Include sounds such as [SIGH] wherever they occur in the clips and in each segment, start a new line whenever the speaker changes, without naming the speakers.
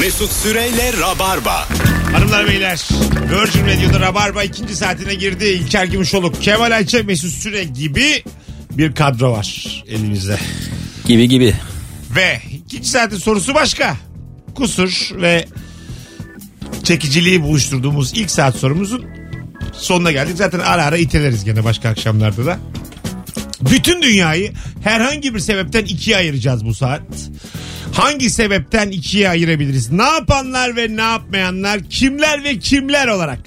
Mesut Süreyle Rabarba.
Hanımlar beyler Virgin Radio'da Rabarba ikinci saatine girdi. İlker Gümüşoluk, Kemal Ayça, Mesut Süre gibi bir kadro var elimizde.
Gibi gibi.
Ve ikinci saatin sorusu başka. Kusur ve çekiciliği buluşturduğumuz ilk saat sorumuzun sonuna geldik. Zaten ara ara iteleriz gene başka akşamlarda da. Bütün dünyayı herhangi bir sebepten ikiye ayıracağız bu saat. Hangi sebepten ikiye ayırabiliriz? Ne yapanlar ve ne yapmayanlar, kimler ve kimler olarak?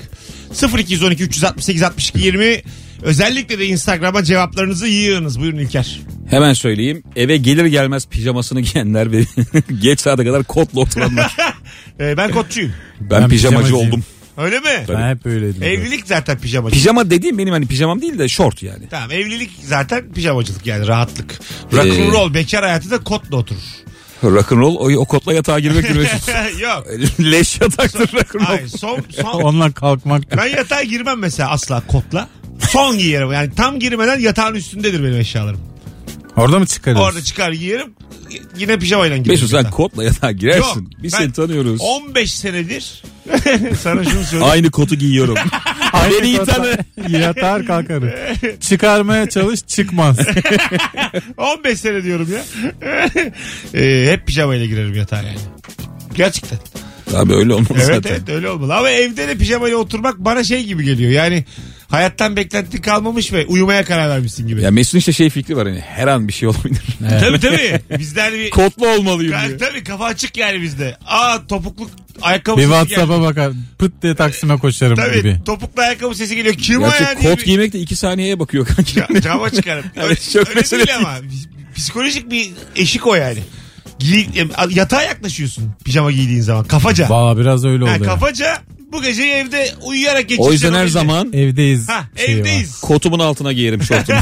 0212 368 62 20 özellikle de Instagram'a cevaplarınızı yığınız. Buyurun İlker.
Hemen söyleyeyim. Eve gelir gelmez pijamasını [LAUGHS] giyenler ve geç saate kadar kotla oturanlar.
Ee, ben kotçuyum.
Ben, pijamacı
pijamacıyım.
oldum.
Öyle mi?
Ben hep öyleydim.
Evlilik zaten pijamacı.
Pijama dediğim benim hani pijamam değil de şort yani.
Tamam evlilik zaten pijamacılık yani rahatlık.
Ee,
Rock'n'roll bekar hayatı da kotla oturur.
Rock'n'roll o, o kotla yatağa girmek gibi.
[LAUGHS] Yok.
Leş yataktır rock'n'roll.
Hayır son, son
Ondan kalkmak.
ben yatağa girmem mesela asla kotla. Son giyerim yani tam girmeden yatağın üstündedir benim eşyalarım.
Orada mı çıkarız?
Orada çıkar giyerim yine pijamayla girerim.
Mesut sen
yatağa.
kotla yatağa girersin. Biz
ben
seni tanıyoruz.
15 senedir [LAUGHS] sana
[LAUGHS]
şunu söyleyeyim.
Aynı kotu giyiyorum. Beni iyi tanı.
Yatar kalkarım.
[LAUGHS]
Çıkarmaya çalış çıkmaz.
15 sene diyorum ya. [LAUGHS] Ee, hep pijamayla girerim yatağa yani. Gerçekten.
Abi öyle olmaz
Evet
zaten.
evet öyle olmalı. Ama evde de pijamayla oturmak bana şey gibi geliyor. Yani hayattan beklenti kalmamış ve uyumaya karar vermişsin gibi.
Ya Mesut'un işte şey fikri var hani her an bir şey olabilir.
Tabii tabii. Bizde hani
[LAUGHS]
bir...
Kotlu olmalıyım
Ka-
diyor.
tabii kafa açık yani bizde. Aa topuklu ayakkabı
bir
sesi
[LAUGHS]
Whatsapp'a
geldi.
bakar. Pıt diye Taksim'e koşarım
Tabii
gibi.
topuklu ayakkabı sesi geliyor. Kim o
Gerçi
yani?
kot giymek de iki saniyeye bakıyor kanka.
Ca-
[LAUGHS]
Cama çıkarım. Öyle,
çok
öyle
mesele
değil ama. Psikolojik bir eşik o yani. Giy, yatağa yaklaşıyorsun pijama giydiğin zaman. Kafaca.
Valla biraz öyle
Ha,
oldu. ya.
kafaca bu geceyi evde uyuyarak geçireceğim.
O yüzden her
gece.
zaman şey
Evdeyiz.
Ha,
şeyi var. [LAUGHS]
evdeyiz.
kotumun altına giyerim
[LAUGHS]
şortumu.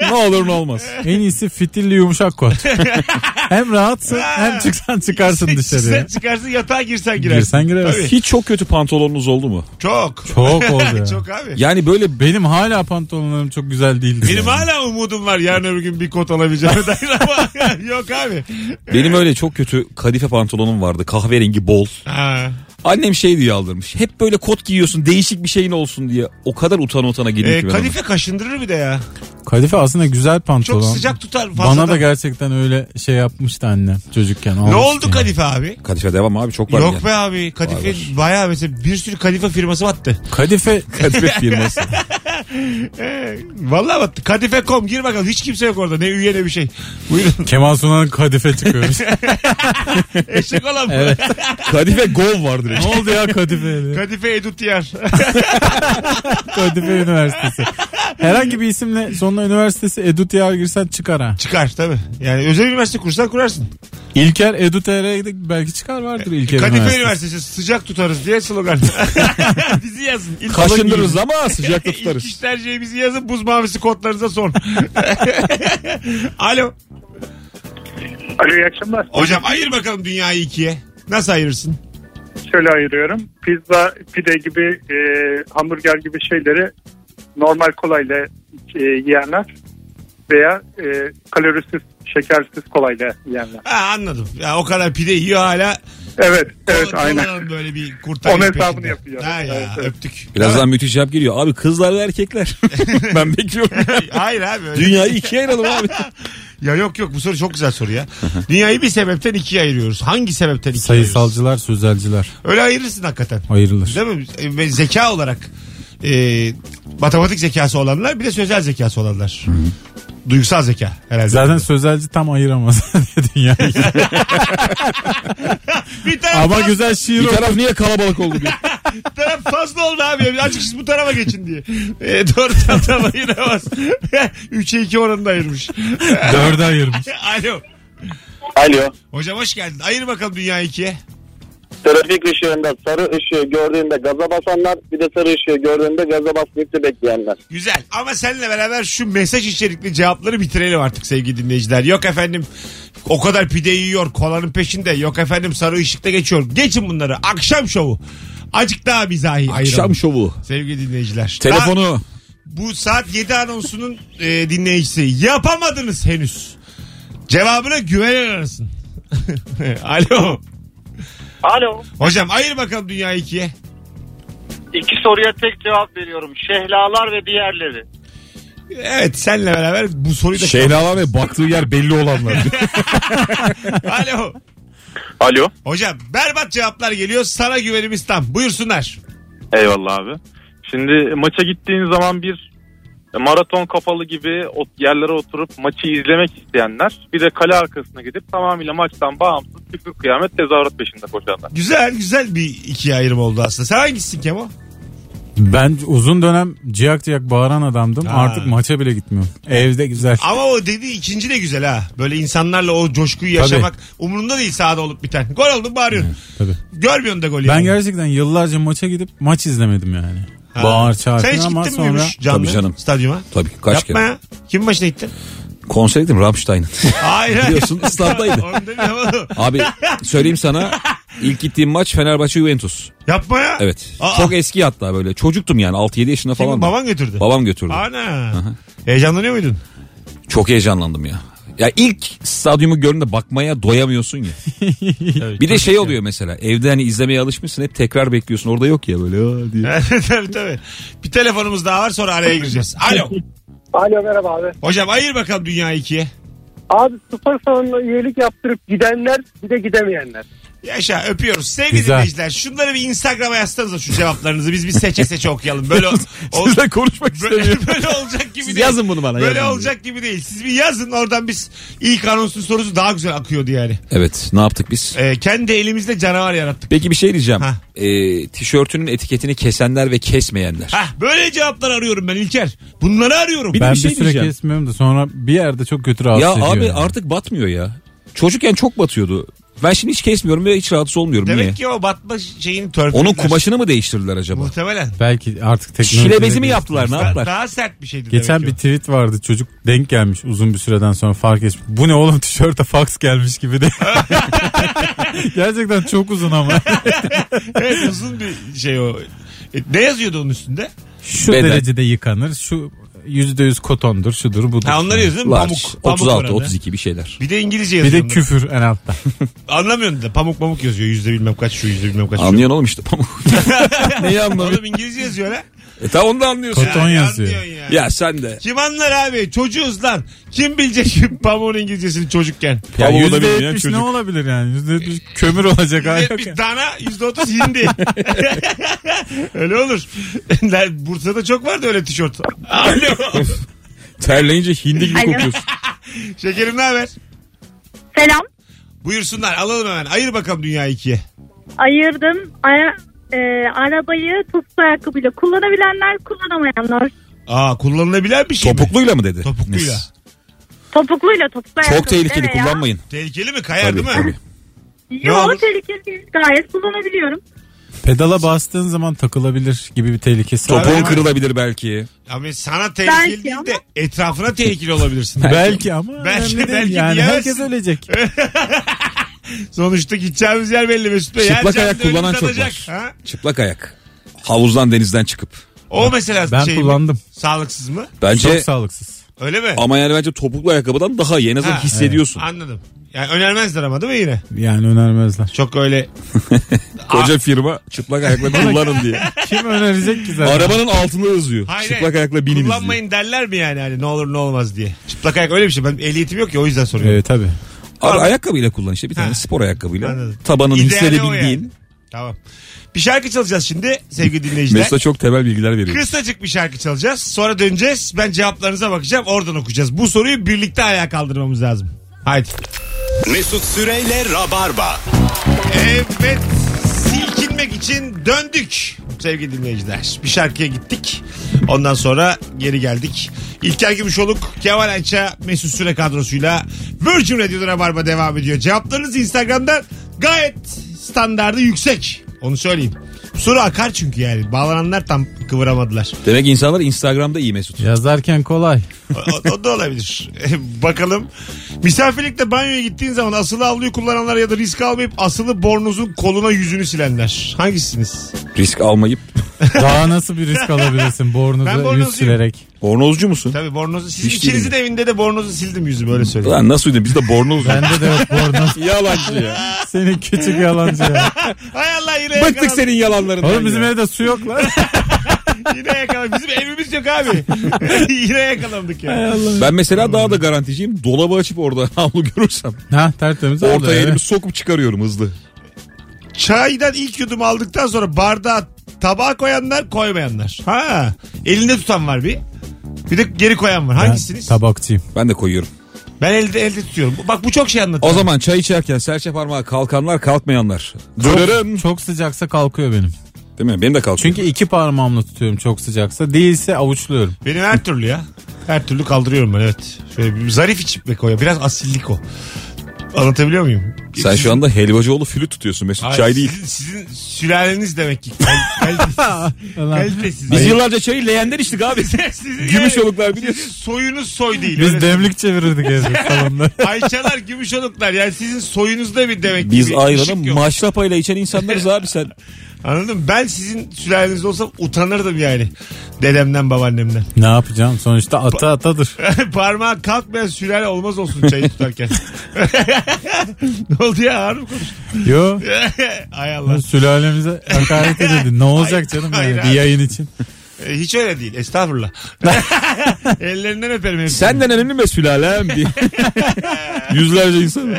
ne olur ne olmaz.
En iyisi fitilli yumuşak kot.
[LAUGHS]
hem rahatsın hem çıksan çıkarsın
Sen
dışarıya.
çıkarsın yatağa girsen girersin.
Girsen girersin.
Hiç çok kötü pantolonunuz oldu mu?
Çok. [LAUGHS]
Çok oldu ya.
Çok abi.
Yani böyle
Benim hala pantolonlarım çok güzel değildi.
Benim hala umudum var yarın öbür gün bir kot
[LAUGHS]
alabileceğime dair [LAUGHS] ama yok abi.
benim öyle çok kötü kadife pantolonum vardı. Kahverengi bol.
Ha.
Annem şey diye aldırmış. Hep böyle kot giyiyorsun değişik bir şeyin olsun diye. O kadar utana utana girdim
Ee,
ki ben ona.
kadife kaşındırır bir de ya.
Kadife aslında güzel
Çok
pantolon.
sıcak tutar fazla.
Bana da gerçekten öyle şey yapmıştı annem çocukken.
Ne
almıştı
oldu
yani.
kadife abi?
Kadife devam abi çok var.
Yok
yani.
be abi. Kadife
Var,
bayağı mesela bir sürü kadife firması battı.
Kadife
[LAUGHS] Kadife
[LAUGHS]
firması.
Ee, vallahi battı. Kadife.com gir bakalım. Hiç kimse yok orada. Ne üye ne bir şey. Buyurun.
Kemal Sunal'ın
[LAUGHS]
kadife çıkıyormuş.
Eşek
[LAUGHS]
olan bu.
Kadife gov var direkt.
ne oldu ya kadife?
Kadife Edutiyar.
[LAUGHS] kadife Üniversitesi. Herhangi bir isimle sonuna üniversitesi Edutiyar girsen çıkar ha.
[LAUGHS] Çıkar tabii. Yani özel üniversite kursan kurarsın.
İlker Edu.tr'ye gidip belki çıkar vardır İlker
Kadife
Üniversitesi.
Üniversitesi sıcak tutarız diye slogan. [LAUGHS] bizi yazın. İlk
Kaşındırırız ama sıcakta
İlk
[LAUGHS]
tutarız.
iş tercihi bizi yazın. Buz mavisi kodlarınıza son. [LAUGHS] Alo.
Alo iyi akşamlar.
Hocam ayır bakalım dünyayı ikiye. Nasıl ayırırsın?
Şöyle ayırıyorum. Pizza, pide gibi, e, hamburger gibi şeyleri normal kolayla e, yiyenler veya e, kalorisiz, şekersiz kolayla yiyenler.
Ha anladım. Ya o kadar pide yiyor hala.
Evet, evet
Kola-
aynen.
kolanın Böyle bir kurtarış
Onun hesabını
peşinde.
yapıyor.
Ha ya
Evet, evet.
öptük.
Birazdan müthiş cevap geliyor. Abi kızlar ve
[LAUGHS]
erkekler. ben bekliyorum.
Hayır abi öyle.
Dünyayı ikiye ayıralım
[LAUGHS]
abi.
Ya yok yok bu soru çok güzel soru ya. Dünyayı bir sebepten ikiye ayırıyoruz. Hangi sebepten ikiye ayırıyoruz?
Sayısalcılar, sözelciler
Öyle ayırırsın hakikaten.
ayrılır.
Değil mi? E, ve Zeka olarak e, matematik zekası olanlar bir de sözel zekası olanlar. Duygusal zeka herhalde.
Zaten sözelci tam ayıramaz [LAUGHS] dünyayı.
bir taraf,
Ama
fazla,
güzel şiir
Bir
o.
taraf niye kalabalık oldu bir?
bir taraf fazla oldu abi. Bir Azıcık siz bu tarafa geçin diye. E, doğru tam tam [LAUGHS] ayıramaz. 3'e 2 oranında ayırmış. [LAUGHS]
Dörde ayırmış.
Alo.
Alo.
Hocam hoş geldin. Ayır bakalım dünyayı ikiye.
Trafik ışığında sarı ışığı gördüğünde gaza basanlar bir de sarı ışığı gördüğünde gaza basmayıp da bekleyenler.
Güzel. Ama seninle beraber şu mesaj içerikli cevapları bitirelim artık sevgili dinleyiciler. Yok efendim o kadar pide yiyor kolanın peşinde. Yok efendim sarı ışıkta geçiyor. Geçin bunları. Akşam şovu. Acık daha mizahi ayıralım.
Akşam şovu.
Sevgili dinleyiciler. Daha
Telefonu.
bu saat 7 anonsunun e, dinleyicisi. Yapamadınız henüz. Cevabına güvenen arasın. [LAUGHS] Alo.
Alo.
Hocam ayır bakalım dünyayı ikiye.
İki soruya tek cevap veriyorum. Şehlalar ve diğerleri.
Evet senle beraber bu soruyu da...
Şeylalar ve baktığı yer belli olanlar.
[LAUGHS] Alo.
Alo.
Hocam berbat cevaplar geliyor. Sana güvenimiz tam. Buyursunlar.
Eyvallah abi. Şimdi maça gittiğin zaman bir maraton kafalı gibi o- yerlere oturup maçı izlemek isteyenler bir de kale arkasına gidip tamamıyla maçtan bağımsız tüklü kıyamet tezahürat peşinde koşanlar.
Güzel güzel bir ikiye ayrım oldu aslında. Sen hangisisin Kemo?
[LAUGHS] Ben uzun dönem ciyak ciyak bağıran adamdım.
Ha.
Artık maça bile gitmiyorum. Evde güzel.
Ama o dediği ikinci de güzel ha. Böyle insanlarla o coşkuyu yaşamak umurunda değil sahada olup biten. Gol oldu bağırıyorsun.
Tabii.
Görmüyorsun da golü.
Ben
yani.
gerçekten yıllarca maça gidip maç izlemedim yani.
Ha.
Bağır çağır
Sen hiç
falan ama
gittin mi
sonra
Gümüş canlı
Tabii canım.
stadyuma?
Tabii kaç
Yapma
kere.
ya. Kimin
[LAUGHS]
başına gittin?
Konser gittim Rammstein'ın.
Hayır. hayır.
Biliyorsun İstanbul'daydı.
Onu demiyorum oğlum.
Abi söyleyeyim sana ilk gittiğim maç Fenerbahçe Juventus.
Yapma ya.
Evet.
Aa.
Çok eski hatta böyle. Çocuktum yani 6-7 yaşında
Kim,
falan.
baban götürdü.
Babam götürdü.
Ana. Heyecanlanıyor muydun?
Çok heyecanlandım ya. Ya ilk stadyumu görünce bakmaya doyamıyorsun
[LAUGHS]
ya. bir de şey oluyor mesela. Evde hani izlemeye alışmışsın hep tekrar bekliyorsun. Orada yok ya böyle. "Aa" diye.
tabii tabii. Bir telefonumuz daha var sonra araya gireceğiz. Alo.
Alo merhaba abi.
Hocam ayır bakalım dünyayı ikiye.
Abi spor salonuna üyelik yaptırıp gidenler bir de gidemeyenler.
Yaşa öpüyoruz. Sevgili
Güzel.
dinleyiciler şunları bir Instagram'a yazsanıza şu cevaplarınızı. Biz bir seçe seçe
[LAUGHS]
okuyalım. Böyle, o, o-
Sizle konuşmak istemiyorum.
[LAUGHS] böyle, böyle olacak gibi
Siz
değil.
yazın bunu bana.
Böyle
yazın.
olacak gibi değil. Siz bir yazın oradan biz ilk anonsun sorusu daha güzel akıyordu yani.
Evet ne yaptık
[LAUGHS]
biz?
Ee, kendi elimizle canavar yarattık.
Peki bir şey diyeceğim.
Ha.
Ee, tişörtünün etiketini kesenler ve kesmeyenler.
Hah böyle cevaplar arıyorum ben İlker. Bunları arıyorum.
Bir de
ben
bir şey
bir süre
diyeceğim.
kesmiyorum da sonra bir yerde çok kötü rahatsız
Ya
ediyor.
abi
yani.
artık batmıyor ya. Çocukken çok batıyordu. Ben şimdi hiç kesmiyorum ve hiç rahatsız olmuyorum.
Demek
Niye?
ki o batma şeyini törpüldüler.
Onun kumaşını mı değiştirdiler acaba?
Muhtemelen.
Belki artık teknoloji...
Şile bezi mi yaptılar ne
Daha,
yaptılar?
daha sert bir şeydi
Geçen bir
demek ki
tweet vardı çocuk denk gelmiş uzun bir süreden sonra fark etmiş. Bu ne oğlum [LAUGHS] tişörte fax gelmiş
[LAUGHS]
gibi de. Gerçekten çok uzun ama.
o. Evet uzun bir şey o. E, ne yazıyordu onun üstünde?
Şu
Beden.
derecede yıkanır. Şu %100 kotondur şudur budur.
Ha, onları yazıyordu
Large,
Pamuk. pamuk
36,
oranı.
32 bir şeyler.
Bir de İngilizce
Bir
yazıyor.
de küfür en altta.
Anlamıyorsun da pamuk pamuk yazıyor. Yüzde bilmem kaç şu yüzde bilmem kaç. şu.
Anlıyorsun oğlum işte
[LAUGHS]
pamuk. Neyi anlamıyor?
Oğlum İngilizce yazıyor lan.
E tamam onu da anlıyorsun.
Koton yazıyor.
anlıyorsun ya.
Ya sen de.
Kim anlar abi? Çocuğuz lan. Kim bilecek ki pamuğun İngilizcesini çocukken?
Ya
Pamuğu da
yüzde
bilmeyen
yetmiş ne
çocuk.
olabilir yani?
[LAUGHS]
Yüzde yetmiş kömür olacak. hali yok
%70
ya.
dana, %30 hindi. [LAUGHS] öyle olur. [LAUGHS] Bursa'da çok vardı öyle tişört. Alo.
Terleyince hindi gibi
Alo.
kokuyorsun.
Şekerim ne haber?
Selam.
Buyursunlar alalım hemen. Ayır bakalım dünya ikiye.
Ayırdım. Ara, e, arabayı topuklu ayakkabıyla kullanabilenler, kullanamayanlar.
Aa kullanılabilen bir şey mi?
Topukluyla mı dedi?
Topukluyla.
Mis.
Topukluyla topuklu ayakkabıyla
Çok tehlikeli
veya-
kullanmayın.
Tehlikeli mi? Kayar
Tabii,
değil mi?
tabii.
Ne olur?
Yok tehlikeli değil. Gayet kullanabiliyorum.
Pedala bastığın zaman takılabilir gibi bir tehlikesi var.
Topuğun kırılabilir belki.
Ama sana tehlikeli
Belki
değil de etrafına
[LAUGHS]
tehlikeli olabilirsin.
Belki
[LAUGHS]
ama
Belki-
belki, önemli değil.
belki
yani
diyemezsin.
herkes ölecek.
Sonuçta gideceğimiz yer belli Mesut Bey. Her
Çıplak
canlı
ayak kullanan
önümüze
çok
atacak.
var.
Ha?
Çıplak ayak. Havuzdan denizden çıkıp.
O mesela
Ben
şey mi?
kullandım.
Sağlıksız mı?
Çok
Bence
sağlıksız.
Öyle mi?
ama yani bence topuklu ayakkabıdan daha iyi. En azından
Ha,
hissediyorsun.
Anladım. Yani önermezler ama değil mi yine? [LAUGHS]
Yani önermezler.
Çok öyle
Koca firma çıplak
[LAUGHS]
ayakla kullanın diye.
Kim önerecek ki zaten?
Arabanın altında yazıyor.
Hayır,
çıplak
hayır.
ayakla bininiz diye.
şey, kullanmayın derler mi yani hani ne olur ne olmaz diye. Çıplak ayak öyle bir şey. Ben ehliyetim yok ya o yüzden soruyorum.
Ee,
Evet Ee, tabii.
Abi ayakkabıyla kullan işte bir tane
Ha.
spor ayakkabıyla.
Anladım.
Tabanını
İdeali o
hissedebildiğin.
yani. Tamam. Bir şarkı çalacağız şimdi sevgili dinleyiciler.
Mesut'a çok temel bilgiler veriyor.
Kısacık bir şarkı çalacağız. Sonra döneceğiz. Ben cevaplarınıza bakacağım. Oradan okuyacağız. Bu soruyu birlikte ayağa kaldırmamız lazım. Haydi.
Mesut Süreyle Rabarba.
Evet. Silkinmek için döndük sevgili dinleyiciler. Bir şarkıya gittik. Ondan sonra geri geldik. İlker Gümüşoluk, Kemal Ayça, Mesut Süre kadrosuyla Virgin Radio'da Rabarba devam ediyor. Cevaplarınız Instagram'dan gayet standardı yüksek. Onu söyleyeyim. Soru akar çünkü yani. Bağlananlar tam kıvıramadılar.
Demek insanlar Instagram'da iyi Mesut.
Yazarken kolay.
O, o da olabilir. [LAUGHS] Bakalım. Misafirlikte banyoya gittiğin zaman asılı havluyu kullananlar ya da risk almayıp asılı bornozun koluna yüzünü silenler. Hangisiniz?
Risk almayıp
Daha nasıl bir
[LAUGHS]
risk alabilirsin
Ben
bornoza
bornozcuyum.
yüz silerek?
Bornozcu musun?
Tabii bornozu. Sizin
Hiç
ikinizin evinde de bornozu sildim yüzümü öyle söyleyeyim.
Lan nasıl uydun? Biz de bornozcu.
Bende de yok
[LAUGHS]
bornoz.
Yalancı ya.
Senin küçük yalancı ya.
Hay Allah yine
Bıktık
yakaladık.
senin yalanlarından.
Oğlum bizim
ya.
evde su
[LAUGHS]
yok lan.
Yine yakaladık. Bizim evimiz
[LAUGHS]
yok abi. [LAUGHS] yine yakalandık ya.
Ben mesela daha da garanticiyim. Dolabı açıp orada [LAUGHS] havlu görürsem.
ha tertemiz oldu.
Ortaya
ya.
elimi sokup çıkarıyorum hızlı.
Çaydan ilk yudum aldıktan sonra bardağa tabağa koyanlar koymayanlar. Ha. Elinde tutan var bir. Bir de geri koyan var.
Ben
Hangisiniz?
Tabakçıyım.
Ben de koyuyorum.
ben elde elde tutuyorum. Bak bu çok şey anlatıyor.
O zaman çay içerken serçe parmağı kalkanlar kalkmayanlar. Dönerim.
Çok, çok sıcaksa kalkıyor benim.
Değil mi? Benim de kalkıyor.
Çünkü iki parmağımla tutuyorum çok sıcaksa. Değilse avuçluyorum.
Benim her türlü ya. Her türlü kaldırıyorum ben evet. Şöyle bir zarif içip koyuyor. Biraz asillik o. Anlatabiliyor muyum?
Sen şu anda helvacıoğlu flüt tutuyorsun Mesut.
Hayır,
Çay değil.
Sizin, sizin sülaleniz demek ki. Kal- kalitesiz. kalitesiz.
Biz yıllarca çayı leğenden içtik abi.
[LAUGHS] Sizin-
Gümüş oluklar
Sizin
biliyorsun.
soyunuz soy değil.
Biz
öyle
demlik çevirirdik evde salonda.
Ayçalar, gümüşoluklar yani sizin soyunuzda bir demek ki
Biz
bir ışık
ayranı
şey yok.
maşrapayla içen insanlarız abi sen.
Anladın mı? Ben sizin sülalenizde olsam utanırdım yani. Dedemden babaannemden.
[LAUGHS]
[LAUGHS]
ne yapacağım? Sonuçta ata atadır.
Parmağa kalkmayan sülale olmaz olsun çayı tutarken. [LAUGHS] ne oldu ya ağır mı konuştun?
Yo.
[LAUGHS] Ay Allah.
Sülalemize hakaret edildi. Ne olacak canım
hayır
yani
abi.
bir yayın için.
E, Hiç öyle değil. Estağfurullah. [LAUGHS] Ellerinden öperim hepsini.
Senden önemli mi sülalem
[LAUGHS]
diye. Yüzlerce insan.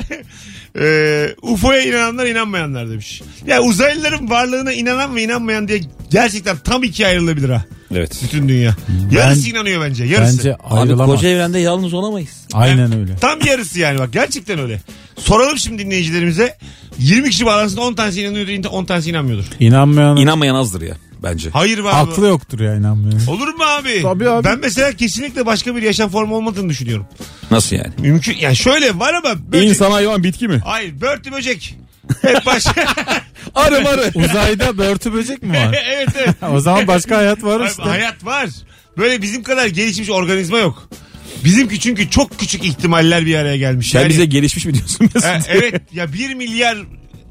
Ee, UFO'ya inananlar inanmayanlar demiş. Ya uzaylıların varlığına inanan ve inanmayan diye gerçekten tam ikiye ayrılabilir ha.
Evet.
Bütün dünya. Yarısı inanıyor bence. Yarısı.
Bence ayrılamaz.
evrende yalnız olamayız.
Aynen öyle.
Tam yarısı yani bak gerçekten öyle. Soralım şimdi dinleyicilerimize. 20 kişi var arasında 10 tanesi inanıyordur 10 tanesi inanmıyordur.
İnanmayan
İnanmayan azdır ya bence.
Hayır be abi.
aklı yoktur ya inanmayan.
Olur mu abi?
Tabii abi.
Ben mesela kesinlikle başka bir yaşam formu olmadığını düşünüyorum.
Nasıl yani?
Mümkün yani şöyle var ama böcek.
İnsan hayvan bitki mi?
Hayır börtü böcek. Hep
[LAUGHS]
başka.
Arı marı.
Uzayda börtü böcek mi var?
[LAUGHS] evet evet.
[LAUGHS] o zaman başka hayat var
Abi,
işte.
hayat var. Böyle bizim kadar gelişmiş organizma yok. Bizimki çünkü çok küçük ihtimaller bir araya gelmiş.
Sen
Yani- [LAUGHS]
bize gelişmiş mi diyorsun [LAUGHS] Mesut?
E, evet ya 1 milyar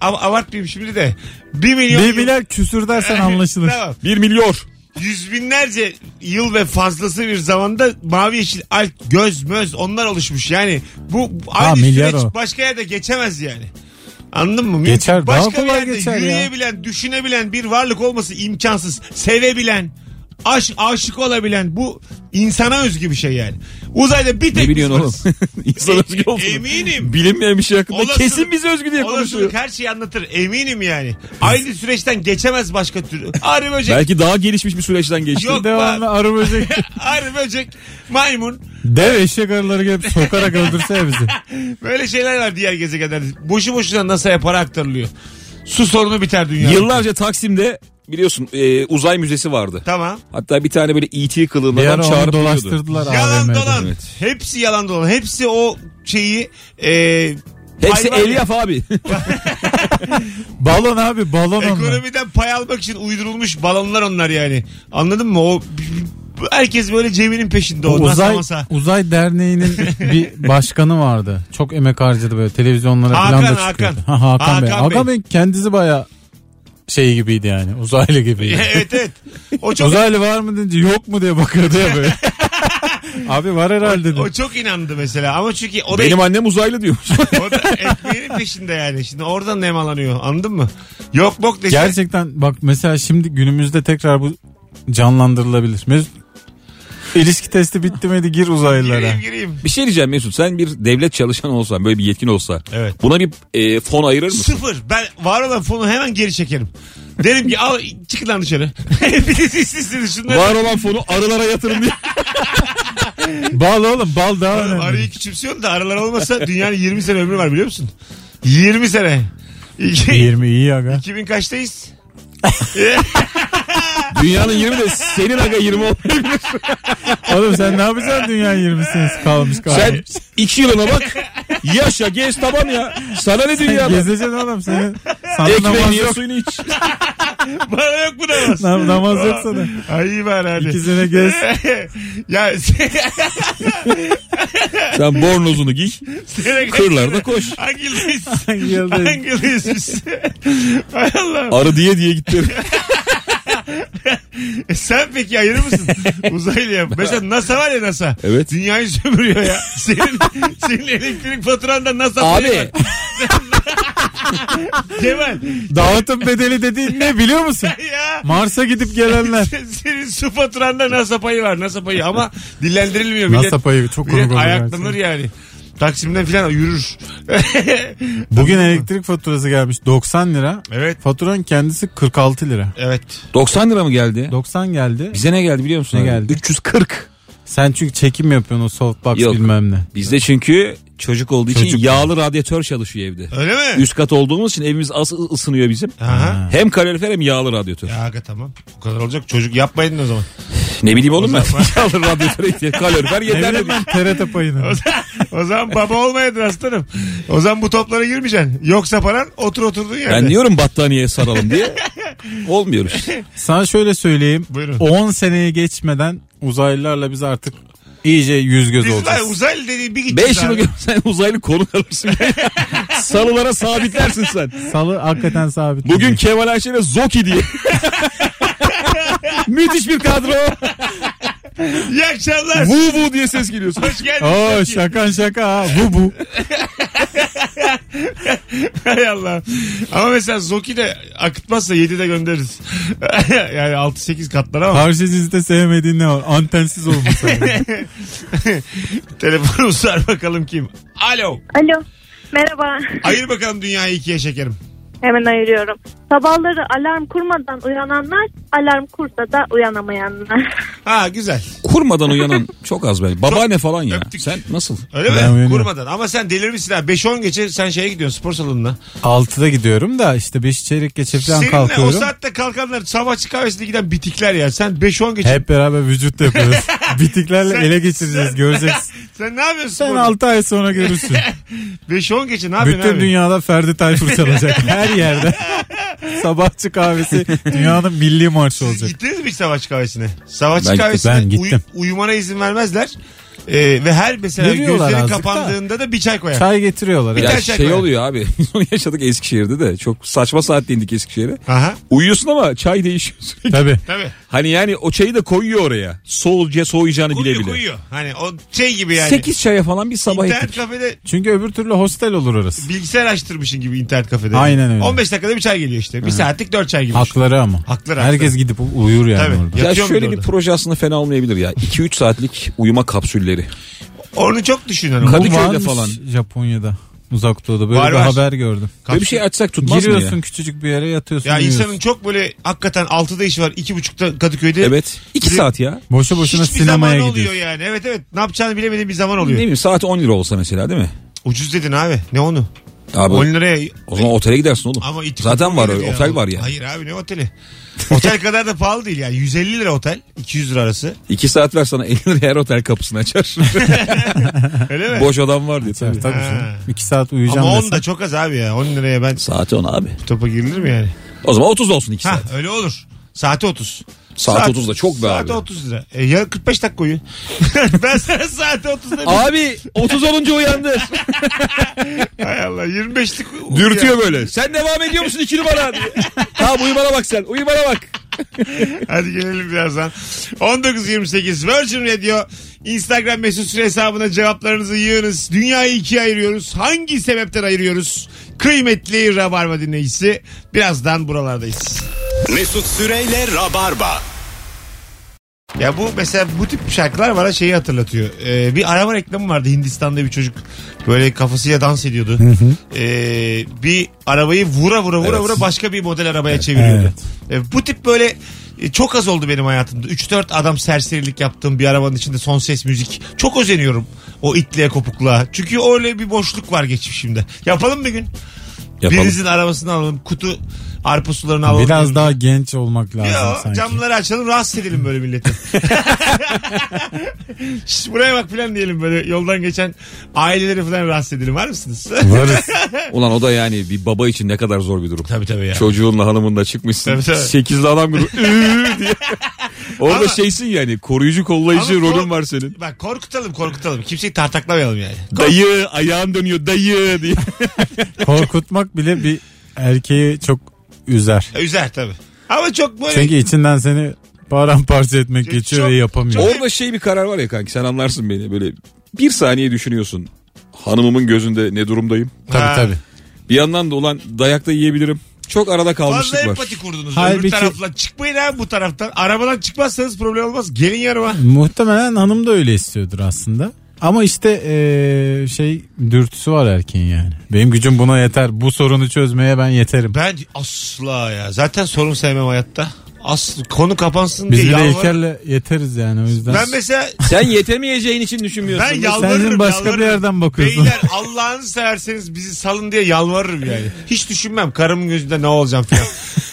av- abartmayayım şimdi de 1 milyon
Bir biler küsür dersen anlaşılır.
Tamam.
Bir milyor.
Yüz binlerce yıl ve fazlası bir zamanda mavi yeşil alp göz möz onlar oluşmuş. Yani bu aynı
milyar
süreç
o.
başka yerde geçemez yani. Anladın mı? Mümkün.
Geçer, daha
başka bir
kolay
yerde
geçer ya.
yürüyebilen, düşünebilen bir varlık olması imkansız. Sevebilen, aş, aşık olabilen bu insana özgü bir şey yani. Uzayda bir tek
Ne
biz
biliyorsun oğlum?
varız.
[LAUGHS] İnsan özgü
E-
olsun.
Eminim.
Bilinmeyen bir şey hakkında
Olasılık-
kesin bize özgü diye konuşuyor.
Olasılık her şeyi anlatır eminim yani. Aynı süreçten geçemez başka türlü. Arı böcek,
Belki daha gelişmiş bir süreçten geçti.
Yok.
Devamlı arı böcek.
[LAUGHS] arı böcek, maymun.
[LAUGHS] Dev eşek arıları gelip sokarak öldürse ya bizi.
Böyle şeyler var diğer gezegenlerde. Boşu boşuna NASA'ya para aktarılıyor. Su sorunu biter dünya.
Yıllarca Taksim'de biliyorsun e, uzay müzesi vardı.
Tamam.
Hatta bir tane böyle E.T. kılığında
Bir ara
adam
onu
çağırıp duruyordu.
dolaştırdılar
Yalan
AVM'de.
dolan. Hepsi yalan dolan. Hepsi o şeyi e,
Hepsi
hayvan-
Elyaf abi.
Balon abi balon onlar.
Ekonomiden pay almak için uydurulmuş balonlar onlar yani. Anladın mı? O herkes böyle cebinin peşinde o NASA
Uzay,
masa. [LAUGHS]
Uzay Derneği'nin bir başkanı vardı. Çok emek harcadı böyle televizyonlara
Hakan,
falan da çıkıyordu.
Hakan.
Ha, Hakan, Bey.
Hakan
Hakan
Bey.
Bey kendisi baya şey gibiydi yani uzaylı gibiydi.
[LAUGHS] evet evet. O çok
uzaylı var mı deyince yok mu diye bakıyordu ya
[LAUGHS]
böyle. abi var herhalde dedi.
o çok inandı mesela ama çünkü o da
Benim annem uzaylı diyormuş.
o da ekmeğinin peşinde yani. Şimdi oradan nemalanıyor. Anladın mı? Yok bok dese.
Gerçekten bak mesela şimdi günümüzde tekrar bu canlandırılabilir. Mesut ilişki testi bitti miydi gir uzaylılara.
gireyim gireyim.
bir şey diyeceğim Mesut sen bir devlet çalışanı olsan böyle bir yetkin olsa
Evet.
buna bir e, fon ayırır mısın?
Sıfır. Ben var olan fonu hemen geri çekerim. Derim ki al çıkın lan dışarı. [LAUGHS] Hepiniz işsizsiniz şunları.
Var olan fonu arılara yatırın diye.
Bal oğlum bal daha önemli.
Arayı küçümsüyorsun da aralar olmasa dünyanın 20 sene ömrü var biliyor musun? 20 sene. İki-
20 iyi aga.
2000 kaçtayız? [LAUGHS]
Dünyanın 20 de senin aga 20 olmuyor.
Oğlum sen ne yapacaksın dünyanın 20'sini kalmış kalmış.
Sen 2 yılına bak. Yaşa gez tamam ya. Sana ne dünya?
Gezeceksin oğlum senin. Sana namaz
Ekmeğini ye,
yok.
suyunu iç.
Bana yok bu namaz.
Nam- namaz yok sana.
Ay iyi var hadi.
İki sene gez.
[LAUGHS] ya [LAUGHS]
Sen bornozunu giy.
sene
Kırlarda koş.
Hangi yıldayız?
Hangi yıldayız?
[LAUGHS] Hangi yıldayız biz? Hay Allah.
Arı diye diye gittim.
E Sen peki ayırır
[LAUGHS]
mısın? Uzaylıya. Mesela NASA var ya NASA.
[LAUGHS] Evet.
Dünyayı sömürüyor
[LAUGHS]
ya. Senin, senin elektrik faturanda NASA.
Abi
[LAUGHS] Cemal.
Dağıtım bedeli dediğin ne biliyor musun?
Ya.
Mars'a gidip gelenler.
Senin su faturanda NASA payı var. NASA payı ama dillendirilmiyor. Millet,
NASA payı çok
millet
komik oldu
ayaklanır
gerçekten.
yani. Taksim'den filan yürür. [LAUGHS]
Bugün elektrik faturası gelmiş 90 lira.
Evet.
Faturanın kendisi 46 lira.
Evet.
90 lira mı geldi?
90 geldi.
Bize ne geldi biliyor musun?
Ne
abi?
geldi?
340.
Sen çünkü çekim yapıyorsun o softbox
Yok. [LAUGHS]
bilmem ne.
Bizde çünkü çocuk olduğu için
Çocuk.
yağlı radyatör çalışıyor evde.
Öyle mi?
Üst kat olduğumuz için evimiz az ısınıyor bizim.
Aha.
Hem kalorifer hem yağlı radyatör.
Ya aga tamam. Bu kadar olacak. Çocuk yapmayın
[LAUGHS]
o zaman.
Ne bileyim oğlum ben. [LAUGHS] yağlı radyatöre ihtiyaç. Kalorifer
Ne
yeterli.
bileyim ben
[LAUGHS]
TRT payını.
O zaman baba olmayaydın aslanım. O zaman bu toplara girmeyeceksin. Yoksa paran otur oturduğun yerde.
Ben diyorum battaniyeye saralım diye.
[LAUGHS]
Olmuyor işte.
Sana şöyle söyleyeyim.
Buyurun.
10 seneye geçmeden uzaylılarla biz artık iyice yüz göz
Biz var ya,
olacağız.
uzaylı dediğin bir gideceğiz
5 yıl [LAUGHS]
abi.
görsen uzaylı konuk alırsın. Salılara sabitlersin sen.
[LAUGHS] Salı hakikaten sabit.
Bugün Kemal Ayşe ve Zoki
[LAUGHS]
diye. Müthiş bir kadro.
İyi akşamlar.
Vu vu diye ses geliyorsun.
Hoş geldin.
Oo şakan şaka ha. bu bu.
[LAUGHS] Hay Allah. Ama mesela Zoki de akıtmazsa 7'de göndeririz. [LAUGHS] yani 6-8 katlar ama.
Karşı cinste sevmediğin ne var? Antensiz olması.
[LAUGHS]
Telefonu sar bakalım kim. Alo.
Alo. Merhaba. [LAUGHS]
Ayır bakalım dünyayı ikiye şekerim.
Hemen ayırıyorum. Sabahları alarm kurmadan uyananlar, alarm kursa da uyanamayanlar.
Ha güzel.
Kurmadan uyanan çok az bence. Babaanne falan ya.
Öptük.
Sen nasıl?
Öyle mi?
Ben uyanıyorum.
Kurmadan. Ama sen delirmişsin ha. 5-10 geçe sen şeye gidiyorsun spor salonuna.
6'da gidiyorum da işte 5 çeyrek geçe falan
Seninle o
kalkıyorum.
saatte kalkanlar sabahçı kahvesine giden bitikler ya. Sen 5-10 geçe.
Hep beraber vücut da yapıyoruz.
[LAUGHS]
Bitiklerle
Sen-
ele
[LAUGHS]
geçireceğiz göreceksin.
Sen ne yapıyorsun?
Sen
sporda?
6 ay sonra görürsün.
5-10 geçe ne yapıyorsun
Bütün
[LAUGHS] abi?
dünyada Ferdi Tayfur
[LAUGHS]
çalacak. Her yerde. Sabahçı kahvesi dünyanın milli marşı
Siz
olacak.
gittiniz mi hiç savaşçı kahvesine? Savaşçı
Ben-
kahvesine
ben gittim.
uyu- uyumana izin vermezler. Ee, ve her mesela
Veriyorlar
gözleri
azıcık da.
kapandığında da. bir çay koyar.
Çay getiriyorlar.
Ya
tane
evet.
şey
şey
koy.
oluyor abi. [LAUGHS] Biz onu yaşadık Eskişehir'de de. Çok saçma saatte indik Eskişehir'e.
Aha.
Uyuyorsun ama çay değişiyor sürekli.
Tabii.
Tabii.
[LAUGHS] Hani yani o çayı da koyuyor oraya. Soğuca soğuyacağını
Koyuyor
bile bile.
koyuyor. Hani o şey gibi yani.
8 çaya falan bir sabah
İnternet
ettik.
kafede
Çünkü öbür türlü hostel olur orası.
bilgisayar açtırmışsın gibi internet kafede.
Aynen öyle.
15 dakikada bir çay geliyor işte. Bir saatlik 4 çay gibi. düşün.
Hakları ama.
Hakları,
Herkes gidip uyur yani
Tabii.
orada.
Ya
Yatıyor
şöyle
muydu
bir
orada?
proje aslında fena olmayabilir ya. 2-3 saatlik uyuma kapsülleri.
Onu çok düşünüyorum.
Kadıköy'de
Bu varmış
falan.
Japonya'da. Uzak doğuda böyle
Var,
bir
var.
haber gördüm.
Böyle bir şey açsak tutmaz mı
Giriyorsun
ya?
küçücük bir yere yatıyorsun.
Ya
uyuyorsun.
insanın çok böyle hakikaten 6'da işi var. 2.30'da Kadıköy'de.
Evet. 2
Bir-
saat ya.
Boşu boşuna
Hiçbir
sinemaya
zaman
gidiyorsun.
oluyor yani. Evet evet. Ne yapacağını bilemediğin bir zaman
Ne
oluyor.
bileyim saat 10 lira olsa mesela değil mi?
Ucuz dedin abi. Ne onu?
Abi
10 liraya
o zaman otele gidersin oğlum.
Ama it-
Zaten var
oteli
öyle,
ya.
otel var ya.
Hayır abi ne oteli? [LAUGHS] otel kadar da pahalı değil yani. 150 lira otel. 200 lira arası.
2 saat ver sana [LAUGHS] 50 liraya her otel kapısını açar.
[LAUGHS] Öyle mi?
Boş adam var diye.
Tabii, tabii
Ha.
canım. İki saat uyuyacağım
Ama 10
desin.
da çok az abi ya. 10 liraya ben
Saati 10 abi.
topa girilir mi yani?
O zaman 30 olsun 2
Ha
saat.
öyle olur. Saati 30.
Saat 30 da çok be
saat
abi.
30 lira. E, ya 45 dakika uyu. [LAUGHS] ben sana saati 30 dedim.
Abi 30 olunca uyandı.
Hay Allah 25'lik. uyu
Dürtüyor
ya.
böyle. Sen devam ediyor musun 2 numara diye. Tamam uyumana bak sen. Uyumana bak.
[LAUGHS] Hadi gelelim birazdan. 19.28 Virgin Radio. Instagram mesut süre hesabına cevaplarınızı yığınız. Dünyayı ikiye ayırıyoruz. Hangi sebepten ayırıyoruz? Kıymetli Rabarba dinleyicisi. Birazdan buralardayız.
Mesut Süreyle Rabarba.
Ya bu mesela bu tip şarkılar bana şeyi hatırlatıyor. Ee, bir araba reklamı vardı Hindistan'da bir çocuk böyle kafasıyla dans ediyordu. Ee, bir arabayı vura vura vura
Evet.
vura başka bir model arabaya çeviriyordu. Ee, bu tip böyle e, çok az oldu benim hayatımda. 3-4 adam serserilik yaptığım bir arabanın içinde son ses müzik. Çok özeniyorum o itliğe kopukluğa. Çünkü öyle bir boşluk var geçmişimde. Yapalım bir gün. Birinizin arabasını alalım. Kutu arpa sularını alalım.
Biraz daha genç olmak lazım
Ya
sanki.
camları açalım rahatsız edelim böyle
[LAUGHS]
milleti. Şş, buraya bak falan diyelim böyle yoldan geçen aileleri falan rahatsız edelim var mısınız?
Varız.
Ulan o da yani bir baba için ne kadar zor bir durum.
tabii tabii ya.
Çocuğunla hanımınla çıkmışsın.
Tabii, tabii.
Sekizli adam grubu.
[LAUGHS]
"Üü" diye. Orada
Ama-
şeysin yani koruyucu kollayıcı
Ama kork-
rolün var senin.
Bak korkutalım korkutalım. Kimseyi tartaklamayalım yani.
Dayı ayağın dönüyor dayı diye.
Korkutmak bile bir erkeği çok üzer.
Ya, Üzer tabii. Ama çok böyle
Şey Çünkü içinden seni Paramparça etmek geçiyor
çok-
ve yapamıyor.
Orada şey bir karar var ya kanki sen anlarsın beni böyle bir saniye düşünüyorsun. Hanımımın gözünde ne durumdayım?
Tabii
Ha.
tabii.
Bir yandan da ulan dayakta yiyebilirim. Çok arada
Fazla
kalmışlık var.
empati kurdunuz. Öbür
Halbuki-
taraftan çıkmayın abi bu taraftan. Arabadan çıkmazsanız problem olmaz. Gelin yanıma.
Muhtemelen hanım da öyle istiyordur aslında. Ama işte eee, şey dürtüsü var erkeğin yani. Benim gücüm buna yeter. Bu sorunu çözmeye ben yeterim.
Ben asla ya. Zaten sorun sevmem hayatta. Aslı konu kapansın
Biz
diye
bir de
yalvar.
İlker'le yeteriz yani o yüzden. E,
Ben mesela
Sen yetemeyeceğin için düşünmüyorsun.
ben yalvarırım.
Sen başka bir
yalvarırım.
yerden bakıyorsun.
Beyler Allah'ını severseniz bizi salın diye yalvarırım yani. Hiç düşünmem karımın gözünde ne olacağım falan.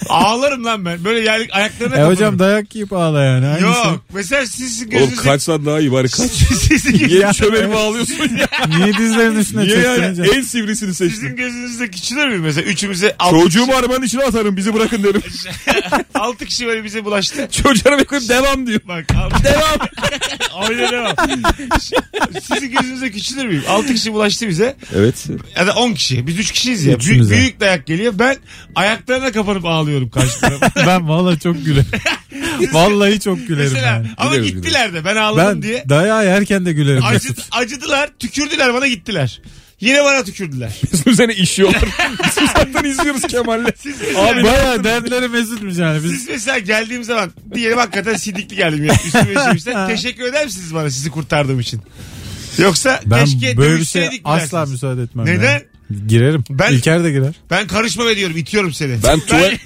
Ağlarım lan ben. Böyle yani ayaklarına
e
kapanırım.
hocam dayak yiyip ağla yani. Aynısı.
Yok. Mesela sizin
Oğlum
gözünüzde...
kaçsan daha iyi bari kaç.
[LAUGHS] sizin,
[LAUGHS]
gözünüz-
Niye çömelimi ağlıyorsun ya?
Niye dizlerin üstüne
Niye
çektin
yani?
hocam?
[LAUGHS]
En sivrisini
sizin
seçtin.
gözünüzde küçülür mü mesela? Üçümüze altı,
Çocuğumu arabanın içine atarım bizi bırakın derim.
altı kişi böyle bize bulaştı.
Çocuğa bakıp devam diyor.
Bak altı,
Devam.
oyna devam. Sizin gözünüzde küçülür müyüm? Altı kişi bulaştı bize.
Evet.
Ya da on kişi. Biz üç kişiyiz ya. Büyük-
Üçümüze.
büyük dayak geliyor. Ben ayaklarına kapanıp ağlıyorum karşı
[LAUGHS]
tarafa.
ben valla
[LAUGHS]
çok gülerim. Vallahi çok gülerim.
Mesela
yani.
ama
Gideriz,
gittiler de ben ağladım
Ben
diye.
dayağı yerken de gülerim.
Acı, acıdılar, tükürdüler bana gittiler. Yine bana tükürdüler.
Bizim seni işiyorlar. Biz uzaktan izliyoruz Kemal'le.
Abi bayağı dertleri mesutmuş yani. Biz
Siz mesela geldiğim zaman diyelim hakikaten sidikli geldim ya.
[LAUGHS]
Üstüme işemişler. Teşekkür eder misiniz bana sizi kurtardığım için? Yoksa
ben
keşke
böyle bir
dövüşseydik
şey
dersiniz.
asla müsaade etmem.
Neden?
yani. Girerim.
Ben-
İlker de girer.
Ben karışmam ediyorum, itiyorum seni.
Ben tuvalet...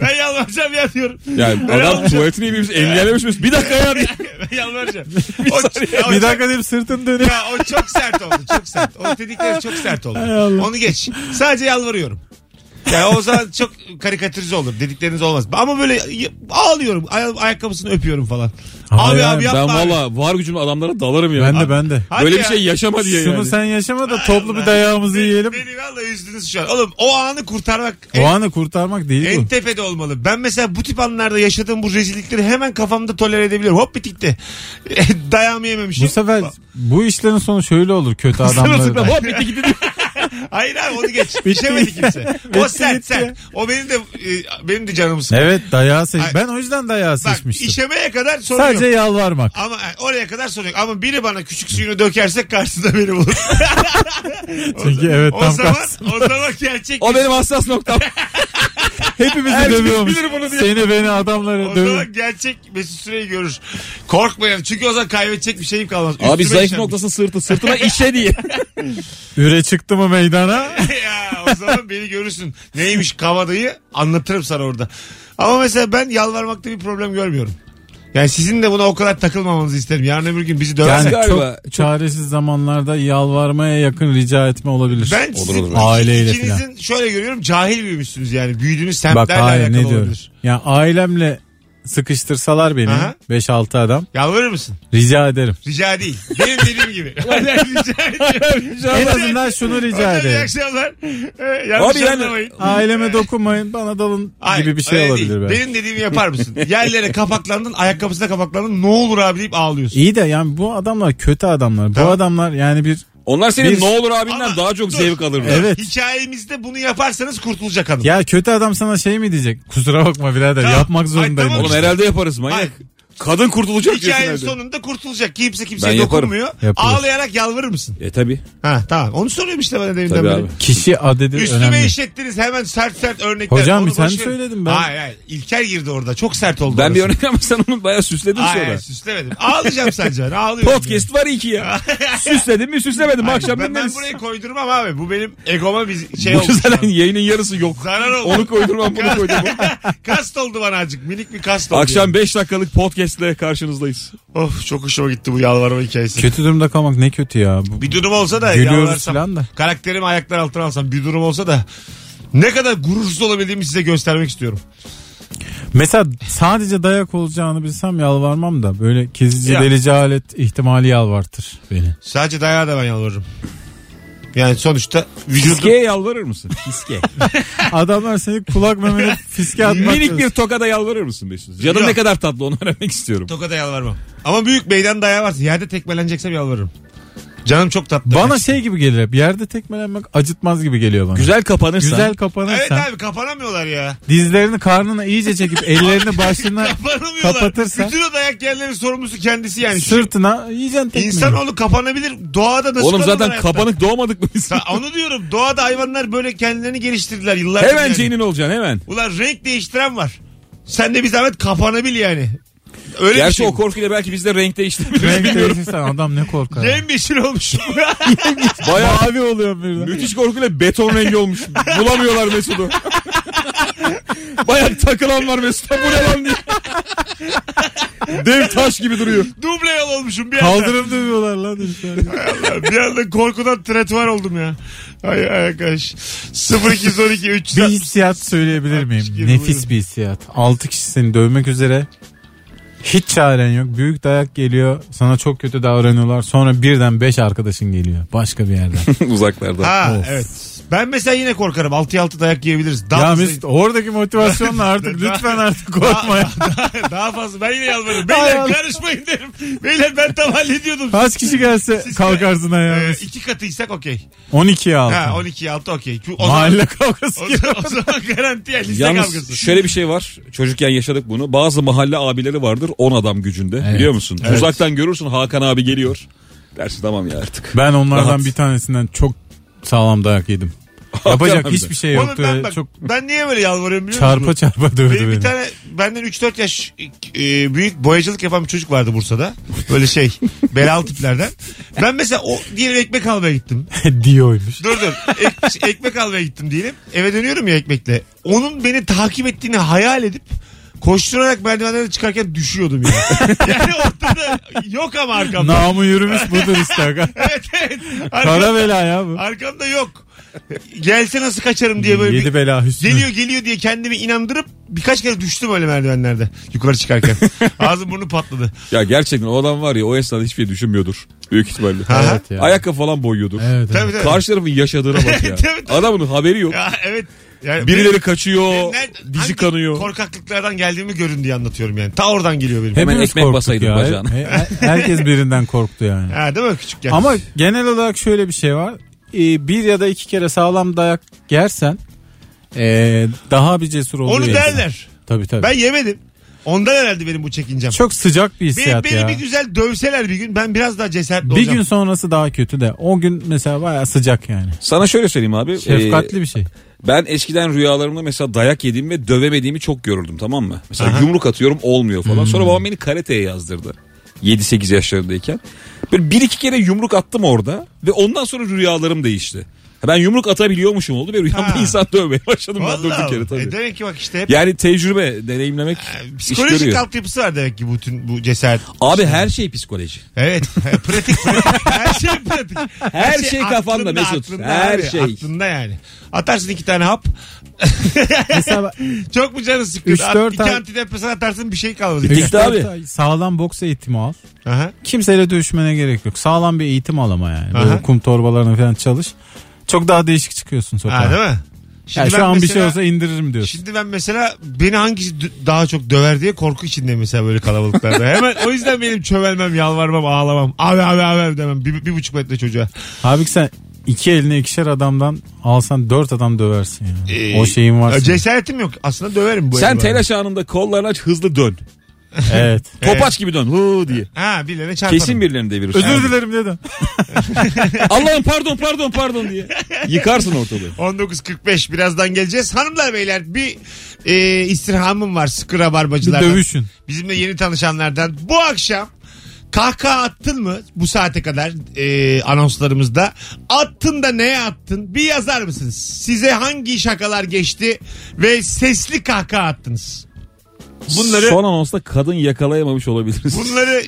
Ben yalvaracağım ya diyorum.
Yani adam tuvaletini yememiş engellememiş miyiz? Bir dakika ya. diye.
[LAUGHS] Ben yalvaracağım. O, ya o
Bir
çok-
dakika deyip sırtım dönüyor.
Ya o çok sert oldu, çok sert. O dedikleri çok sert oldu.
Allah.
Onu geç. Sadece yalvarıyorum. Yani o zaman çok karikatürize olur. Dedikleriniz olmaz. Ama böyle y- ağlıyorum. Ay- ayakkabısını öpüyorum falan. abi
Hayır,
abi yapma.
Ben
abi.
valla var gücümle adamlara dalarım ya.
Ben de ben de.
Hadi
Böyle
ya.
bir şey yaşama diye
Şunu
yani.
sen yaşama da toplu bir dayağımızı yiyelim.
Beni valla üzdünüz şu an. Oğlum o anı kurtarmak
O
en,
anı kurtarmak değil
en
bu.
tepede olmalı. Ben mesela bu tip anlarda yaşadığım bu rezillikleri hemen kafamda tolere edebiliyorum. Hop bitikti. [LAUGHS] Dayağımı yememişim.
Bu sefer bu işlerin sonu şöyle olur
[LAUGHS]
kötü adamlar.
Sırasıyla hop bitti gitti diyor.
Hayır abi onu geç. İşemedi kimse. O sert sert. O benim de e, benim de canımı sıkıyor.
Evet dayağı seç.
Ay-
Ben o yüzden dayağı
Bak
seçmiştim.
işemeye kadar sorun
Sadece
yok.
yalvarmak.
Ama e, oraya kadar sorun yok. Ama biri bana küçük suyunu dökerse karşısında beni bulur.
Çünkü evet
o
tam
zaman,
karşısında.
o zaman gerçek.
O benim hassas
[LAUGHS]
noktam.
Hepimizi
Herkes
dövüyormuş.
bilir bunu diye.
Seni beni adamları
O
dövüyor.
zaman gerçek Mesut Süreyi görür. Korkmayalım. Çünkü o zaman kaybedecek bir şeyim kalmaz.
Abi
Üstüme
zayıf
işemiş.
noktası sırtı. Sırtına işe diye.
Üre çıktı mı meydana?
[LAUGHS] ya o zaman beni görürsün. Neymiş kavadayı anlatırım sana orada. Ama mesela ben yalvarmakta bir problem görmüyorum. Yani sizin de buna o kadar takılmamanızı isterim. Yarın öbür gün bizi döversen.
Yani
galiba
çok çaresiz zamanlarda yalvarmaya yakın rica etme olabilir.
ben
Olur,
sizin
olur.
Aileyle
ikinizin şöyle görüyorum cahil büyümüşsünüz yani. Büyüdüğünüz
Bak
semtlerle
hayır
alakalı
ne diyorum.
olabilir.
Ya ailemle sıkıştırsalar beni
Aha.
5-6 adam
Yalvarır mısın?
rica ederim.
Rica değil. Benim dediğim
[LAUGHS]
gibi. rica ediyorum.
En azından şunu rica
Hocam iyi
ederim.
akşamlar. Ee, yanlış
Abi yani-
anlamayın.
Aileme dokunmayın bana dalın
Hayır,
gibi bir şey
öyle
olabilir
değil.
belki.
Benim dediğimi yapar mısın? Yerlere kapaklandın, ayakkabısına kapaklandın. Ne olur abi deyip ağlıyorsun.
İyi de yani bu adamlar kötü adamlar.
Tamam.
Bu adamlar yani bir
[LAUGHS] Onlar senin
Biz-
ne olur abinden
Ama
daha çok
dur.
zevk alırlar.
Evet.
Hikayemizde bunu yaparsanız kurtulacak hanım.
[LAUGHS] ya kötü adam sana şey mi diyecek? Kusura bakma birader
Tamam. Ay,
yapmak zorundayım.
tamam.
Oğlum
İşte.
herhalde yaparız manyak.
Hayır.
Kadın kurtulacak diyorsun
Hikayenin
herhalde.
sonunda kurtulacak. Kimse
Ben
kimseye
yaparım.
dokunmuyor.
Yaparız.
Ağlayarak yalvarır mısın?
E tabi.
Ha tamam. Onu soruyorum işte bana deminden
Tabi
beri.
abi.
Kişi adedi
Üstüme
önemli.
işettiniz hemen sert sert örnekler.
Hocam,
Onu
sen
boş ver.
söyledin ben.
Hayır hayır. İlker girdi orada. Çok sert oldu.
Ben bir
orası.
örnek ama sen onu bayağı süsledin
Hayır,
sonra.
hayır, süslemedim. Ağlayacağım sence ben. Ağlıyorum.
Podcast var iki
[LAUGHS]
ya. Süsledim mi süslemedim mi
Hayır,
akşam
ben, ben
dinleriz.
buraya koydurmam abi. Bu benim egoma bir şey
Bu
oldu. şu
yüzden hani
an.
yayının yarısı yok.
Zarar oldu.
Onu koydurmam bunu koydurmam.
[LAUGHS] kast oldu bana azıcık. Minik bir kast oldu.
Akşam
yani.
5 dakikalık podcastle karşınızdayız.
Of çok hoşuma gitti bu yalvarma hikayesi.
Kötü durumda kalmak ne kötü ya. Bu,
Bir durum olsa da
Gülüyoruz
yalvarsam.
falan da.
Karakterimi ayaklar altına alsam bir durum olsa da ne kadar gurursuz olabildiğimi size göstermek istiyorum.
Mesela sadece dayak olacağını bilsem yalvarmam da böyle kezici
Ya.
delici alet ihtimali yalvartır beni.
Sadece dayağı da ben yalvarırım. Yani sonuçta vücudum...
Fiskeye yalvarır mısın? Fiske.
Adamlar seni kulak memeli fiske atmak.
Minik bir tokada yalvarır mısın Mesut? Canın
Yok.
ne kadar tatlı onu öğrenmek istiyorum.
Tokada yalvarmam. Ama büyük meydan dayağı varsa yerde tekmeleneceksem yalvarırım. Canım çok tatlı.
Bana şey gibi gelir hep. Yerde tekmelenmek acıtmaz gibi geliyor bana.
Güzel kapanırsan.
Güzel kapanırsan.
Evet abi kapanamıyorlar ya.
Dizlerini karnına iyice çekip
[LAUGHS]
ellerini başına
Kapanamıyorlar.
kapatırsa
Bütün o dayak yerlerin sorumlusu kendisi yani. Şu
sırtına yiyeceksin tekmeyi.
İnsanoğlu kapanabilir. Doğada nasıl
Oğlum
kalıyorlar
zaten
hayatta?
kapanık doğmadık mı biz?
Ta- Onu diyorum. Doğada hayvanlar böyle kendilerini geliştirdiler yıllardır.
hemen
yani.
ceynin olacaksın hemen.
Ulan renk değiştiren var. Sen de bir zahmet kapanabil yani. Öyle bir
Gerçi
şey.
o korkuyla belki biz de renk
[LAUGHS]
değiştirmiyoruz.
Renk değişirsen adam ne korkar.
Yemyeşil olmuş.
[LAUGHS]
Bayağı
Mavi oluyor birden.
müthiş korkuyla beton rengi olmuş. Bulamıyorlar
[LAUGHS]
Mesut'u. Bayağı takılan var Mesut'a bu ne
[LAUGHS]
lan diye. Dev taş gibi duruyor.
[LAUGHS] Duble yol olmuşum bir anda.
Kaldırım dövüyorlar lan. herifler.
[LAUGHS] bir anda korkudan tretuar oldum ya. Ay ay arkadaş. 0212
Bir
300.
hissiyat söyleyebilir miyim?
Altmış gibi, buyurun.
Nefis bir hissiyat. 6 kişi seni dövmek üzere. Hiç çaren yok. Büyük dayak geliyor. Sana çok kötü davranıyorlar. Sonra birden 5 arkadaşın geliyor. Başka bir yerden.
Uzaklarda.
Ha
Of.
evet. Ben mesela yine korkarım. 6'ya 6 dayak yiyebiliriz. [LAUGHS] Daha
ya
fazla-
Mesut oradaki
[LAUGHS]
motivasyonla artık lütfen artık korkma ya.
Daha fazla. Ben yine yalvarırım.
Ay,
Beyler
ay.
karışmayın derim. Beyler ben tam hallediyordum.
Kaç kişi gelse kalkarsın ayağa.
Ee, iki katıysak okey.
12'ye
Ha
altı.
12'ye 6 okey. Çünkü O zaman,
Mahalle kavgası
o
gibi. [LAUGHS]
zaman, o zaman garanti yani liste
Yalnız
kavgası.
şöyle bir şey var. Çocukken yaşadık bunu. Bazı mahalle abileri vardır 10 adam gücünde.
Evet.
Biliyor musun?
Evet.
Uzaktan görürsün Hakan abi geliyor. Dersin tamam ya artık.
Ben onlardan
Rahat.
bir tanesinden çok sağlam dayak yedim. Yapacak hiçbir şey
Oğlum
yoktu.
ben, bak,
Çok
ben niye böyle yalvarıyorum biliyor
çarpa
musun?
çarpa
Benim
dövdü
bir
beni.
tane benden 3-4 yaş e, büyük boyacılık yapan bir çocuk vardı Bursa'da. Böyle
[LAUGHS]
şey belalı tiplerden. Ben mesela o diyelim ekmek almaya gittim.
[LAUGHS] Diyoymuş.
Dur dur Ek- ekmek almaya gittim diyelim. Eve dönüyorum ya ekmekle. Onun beni takip ettiğini hayal edip koşturarak merdivenlerden çıkarken düşüyordum
[LAUGHS]
yani. yani ortada yok ama arkamda.
Namı yürümüş budur
[LAUGHS]
işte. aga.
Evet evet.
Kara
Arkamda,
bela ya bu.
arkamda yok. Gelse nasıl kaçarım diye böyle bir-
Yedi bela Hüsnü.
Geliyor geliyor diye kendimi inandırıp birkaç kere düştüm öyle merdivenlerde yukarı
[LAUGHS]
çıkarken. Ağzım burnu patladı.
Ya gerçekten o adam var ya o esnada hiçbir şey düşünmüyordur. Büyük ihtimalle.
Evet ya.
Ayakkabı falan boyuyordur.
Evet,
Tabii
evet.
tabii.
Karşı tarafın yaşadığına bak ya.
Tabii, tabii.
Adamın haberi yok.
Ya, evet. Yani
Birileri
benim-
kaçıyor,
benim nerede- hangi
dizi kanıyor.
Korkaklıklardan geldiğimi görün diye anlatıyorum yani. Ta oradan geliyor benim.
Hemen
Hepimiz
ekmek
korktuk
basaydın
ya.
bacağına.
He- he- Herkes birinden korktu yani.
Ha, değil mi küçükken?
Ama genel olarak şöyle bir şey var. Ee, bir ya da iki kere sağlam dayak yersen ee, daha bir cesur oluyor.
onu
insan.
derler.
Tabii tabii.
Ben yemedim. Ondan herhalde benim bu çekincem.
Çok sıcak bir
beni,
hissiyat
beni
ya.
bir güzel dövseler bir gün ben biraz daha cesaretli
Bir
olacağım.
gün sonrası daha kötü de o gün mesela bayağı sıcak yani.
Sana şöyle söyleyeyim abi.
Şefkatli
Ee, [LAUGHS]
bir şey.
ben eskiden rüyalarımda mesela dayak yediğim ve dövemediğimi çok görürdüm tamam mı? Mesela
Aha. Hmm.
yumruk atıyorum olmuyor falan. Sonra babam beni karateye yazdırdı. 7-8 yaşlarındayken. Böyle bir iki kere yumruk attım orada ve ondan sonra rüyalarım değişti. Ha, Ben yumruk atabiliyormuşum oldu ve rüyamda
Ha.
insan dövmeye başladım ben
Vallahi
durduk yere
bak.
tabii.
E demek ki bak işte hep
Yani tecrübe, deneyimlemek
e,
iş
psikolojik
görüyor.
altyapısı var demek ki bütün bu cesaret.
Abi her şey psikoloji.
Evet. [LAUGHS] pratik pratik. Her şey pratik. Her,
şey kafanda Mesut. Her şey.
Aklında yani. Atarsın iki tane hap.
Mesela
Çok mu canın sıkkın?
Üç,
At-
dört
iki
ay-
antidepresan atarsın bir şey kalmaz.
Bitti
üç, dört
abi.
ay Sağlam boks eğitimi al.
Aha.
Kimseyle dövüşmene gerek yok. Sağlam bir eğitim al ama yani.
Aha.
Böyle kum torbalarına falan çalış. Çok daha değişik çıkıyorsun sokağa.
Ha, değil mi?
Ya
Şimdi ben
şu an bir
mesela-
şey olsa indiririm diyorsun.
Şimdi ben mesela beni hangisi dü- daha çok döver diye korku içinde mesela böyle
[LAUGHS]
kalabalıklarda. Hemen o yüzden benim çömelmem, yalvarmam, ağlamam. Abi abi abi, abi demem. Bir, bir buçuk metre çocuğa.
Abi ki sen iki eline ikişer adamdan alsan dört adam döversin yani.
Ee,
o şeyin varsa.
Cesaretim yok. Aslında döverim bu
Sen
evi ben.
telaş anında kollarını aç hızlı dön.
evet.
Topaç gibi dön. Hı diye.
Ha birilerine çarparım.
Kesin birilerini devirirsin.
Özür dilerim dedim.
Allah'ım pardon pardon pardon diye. Yıkarsın ortalığı.
19.45 birazdan geleceğiz. Hanımlar beyler bir e, istirhamım var sıkı
Bir
rabarbacılardan.
dövüşün.
Bizimle yeni tanışanlardan. Bu akşam kahkaha attın mı bu saate kadar e, anonslarımızda? Attın da neye attın? Bir yazar mısınız? Size hangi şakalar geçti ve sesli kahkaha attınız? Bunları-
Son anonsda kadın yakalayamamış olabiliriz.
Bunları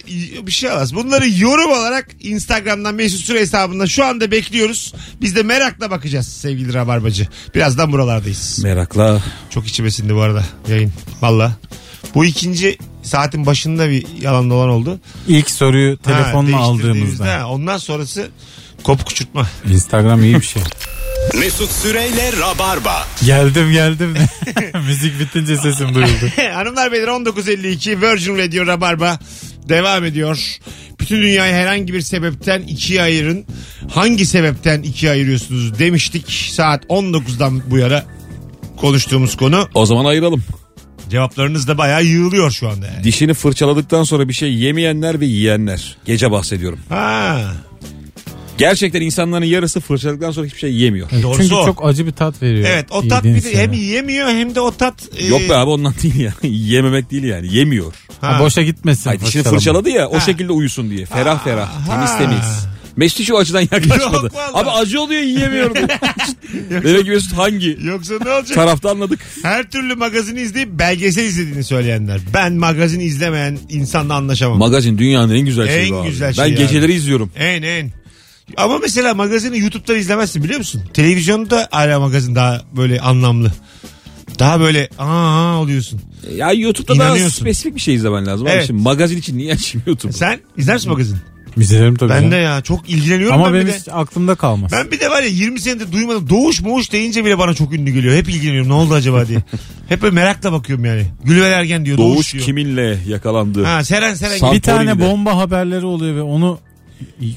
bir şey olmaz. Bunları yorum olarak Instagram'dan Mesut Süre hesabından şu anda bekliyoruz. Biz de merakla bakacağız sevgili Rabarbacı. Birazdan buralardayız.
Merakla.
Çok içime sindi bu arada yayın. Valla. Bu ikinci saatin başında bir yalan dolan oldu.
İlk soruyu
Ha,
telefonla
değiştirdiğimizde,
aldığımızda.
[LAUGHS] ha, Ondan sonrası kopuk uçurtma. [LAUGHS]
Instagram iyi bir şey.
Mesut Süreyle Rabarba.
geldim geldim. [LAUGHS] Müzik bitince sesim duyuldu.
Hanımlar beyler 19.52 Virgin Radio Rabarba devam ediyor. Bütün dünyayı herhangi bir sebepten ikiye ayırın. Hangi sebepten ikiye ayırıyorsunuz demiştik. Saat 19'dan bu yana konuştuğumuz konu.
O zaman ayıralım.
Cevaplarınız da bayağı yığılıyor şu anda yani.
Dişini fırçaladıktan sonra bir şey yemeyenler ve yiyenler. Gece bahsediyorum.
Ha,
Gerçekten insanların yarısı fırçaladıktan sonra hiçbir şey yemiyor.
doğrusu
Çünkü
o.
çok acı bir tat veriyor.
Evet o tat
yediğin
bir de
şey.
hem yiyemiyor hem de o tat... e,
Yok be abi ondan değil ya. [LAUGHS] Yememek değil yani. Yemiyor.
Ha, boşa gitmesin.
Hayır dişini
fırçalama.
fırçaladı ya o şekilde uyusun diye. Ferah ferah. Temiz
ha.
temiz. Mesut hiç o açıdan yaklaşmadı.
Yok vallahi.
abi acı oluyor yiyemiyorum. Demek ki Mesut hangi
Yoksa ne
[LAUGHS]
olacak?
tarafta anladık.
Her türlü magazini izleyip belgesel izlediğini söyleyenler. Ben magazin izlemeyen insanla anlaşamam.
Magazin dünyanın en güzel şeyi
En
bu abi.
güzel
ben
şeyi
geceleri izliyorum.
en en. Ama mesela magazini YouTube'da izlemezsin biliyor musun? Televizyonda hala magazin daha böyle anlamlı. Daha böyle aa oluyorsun.
Ya YouTube'da daha
İnanıyorsun.
spesifik bir şey izlemen lazım. Abi
Evet.
Şimdi magazin için niye açayım YouTube'u?
Sen izler misin magazin?
İzlerim tabii.
Ben
canım.
de ya çok ilgileniyorum
Ama
ben bir
benim
de.
hiç aklımda kalmaz.
Ben bir de var ya 20 senedir duymadım. Doğuş moğuş deyince bile bana çok ünlü geliyor. Hep ilgileniyorum ne oldu acaba diye. Hep böyle merakla bakıyorum yani. Gülver Ergen diyor Doğuş,
Doğuş
diyor.
kiminle yakalandı?
Ha, Seren Seren.
Sağ-
bir tane
Antonini'de.
bomba haberleri oluyor ve onu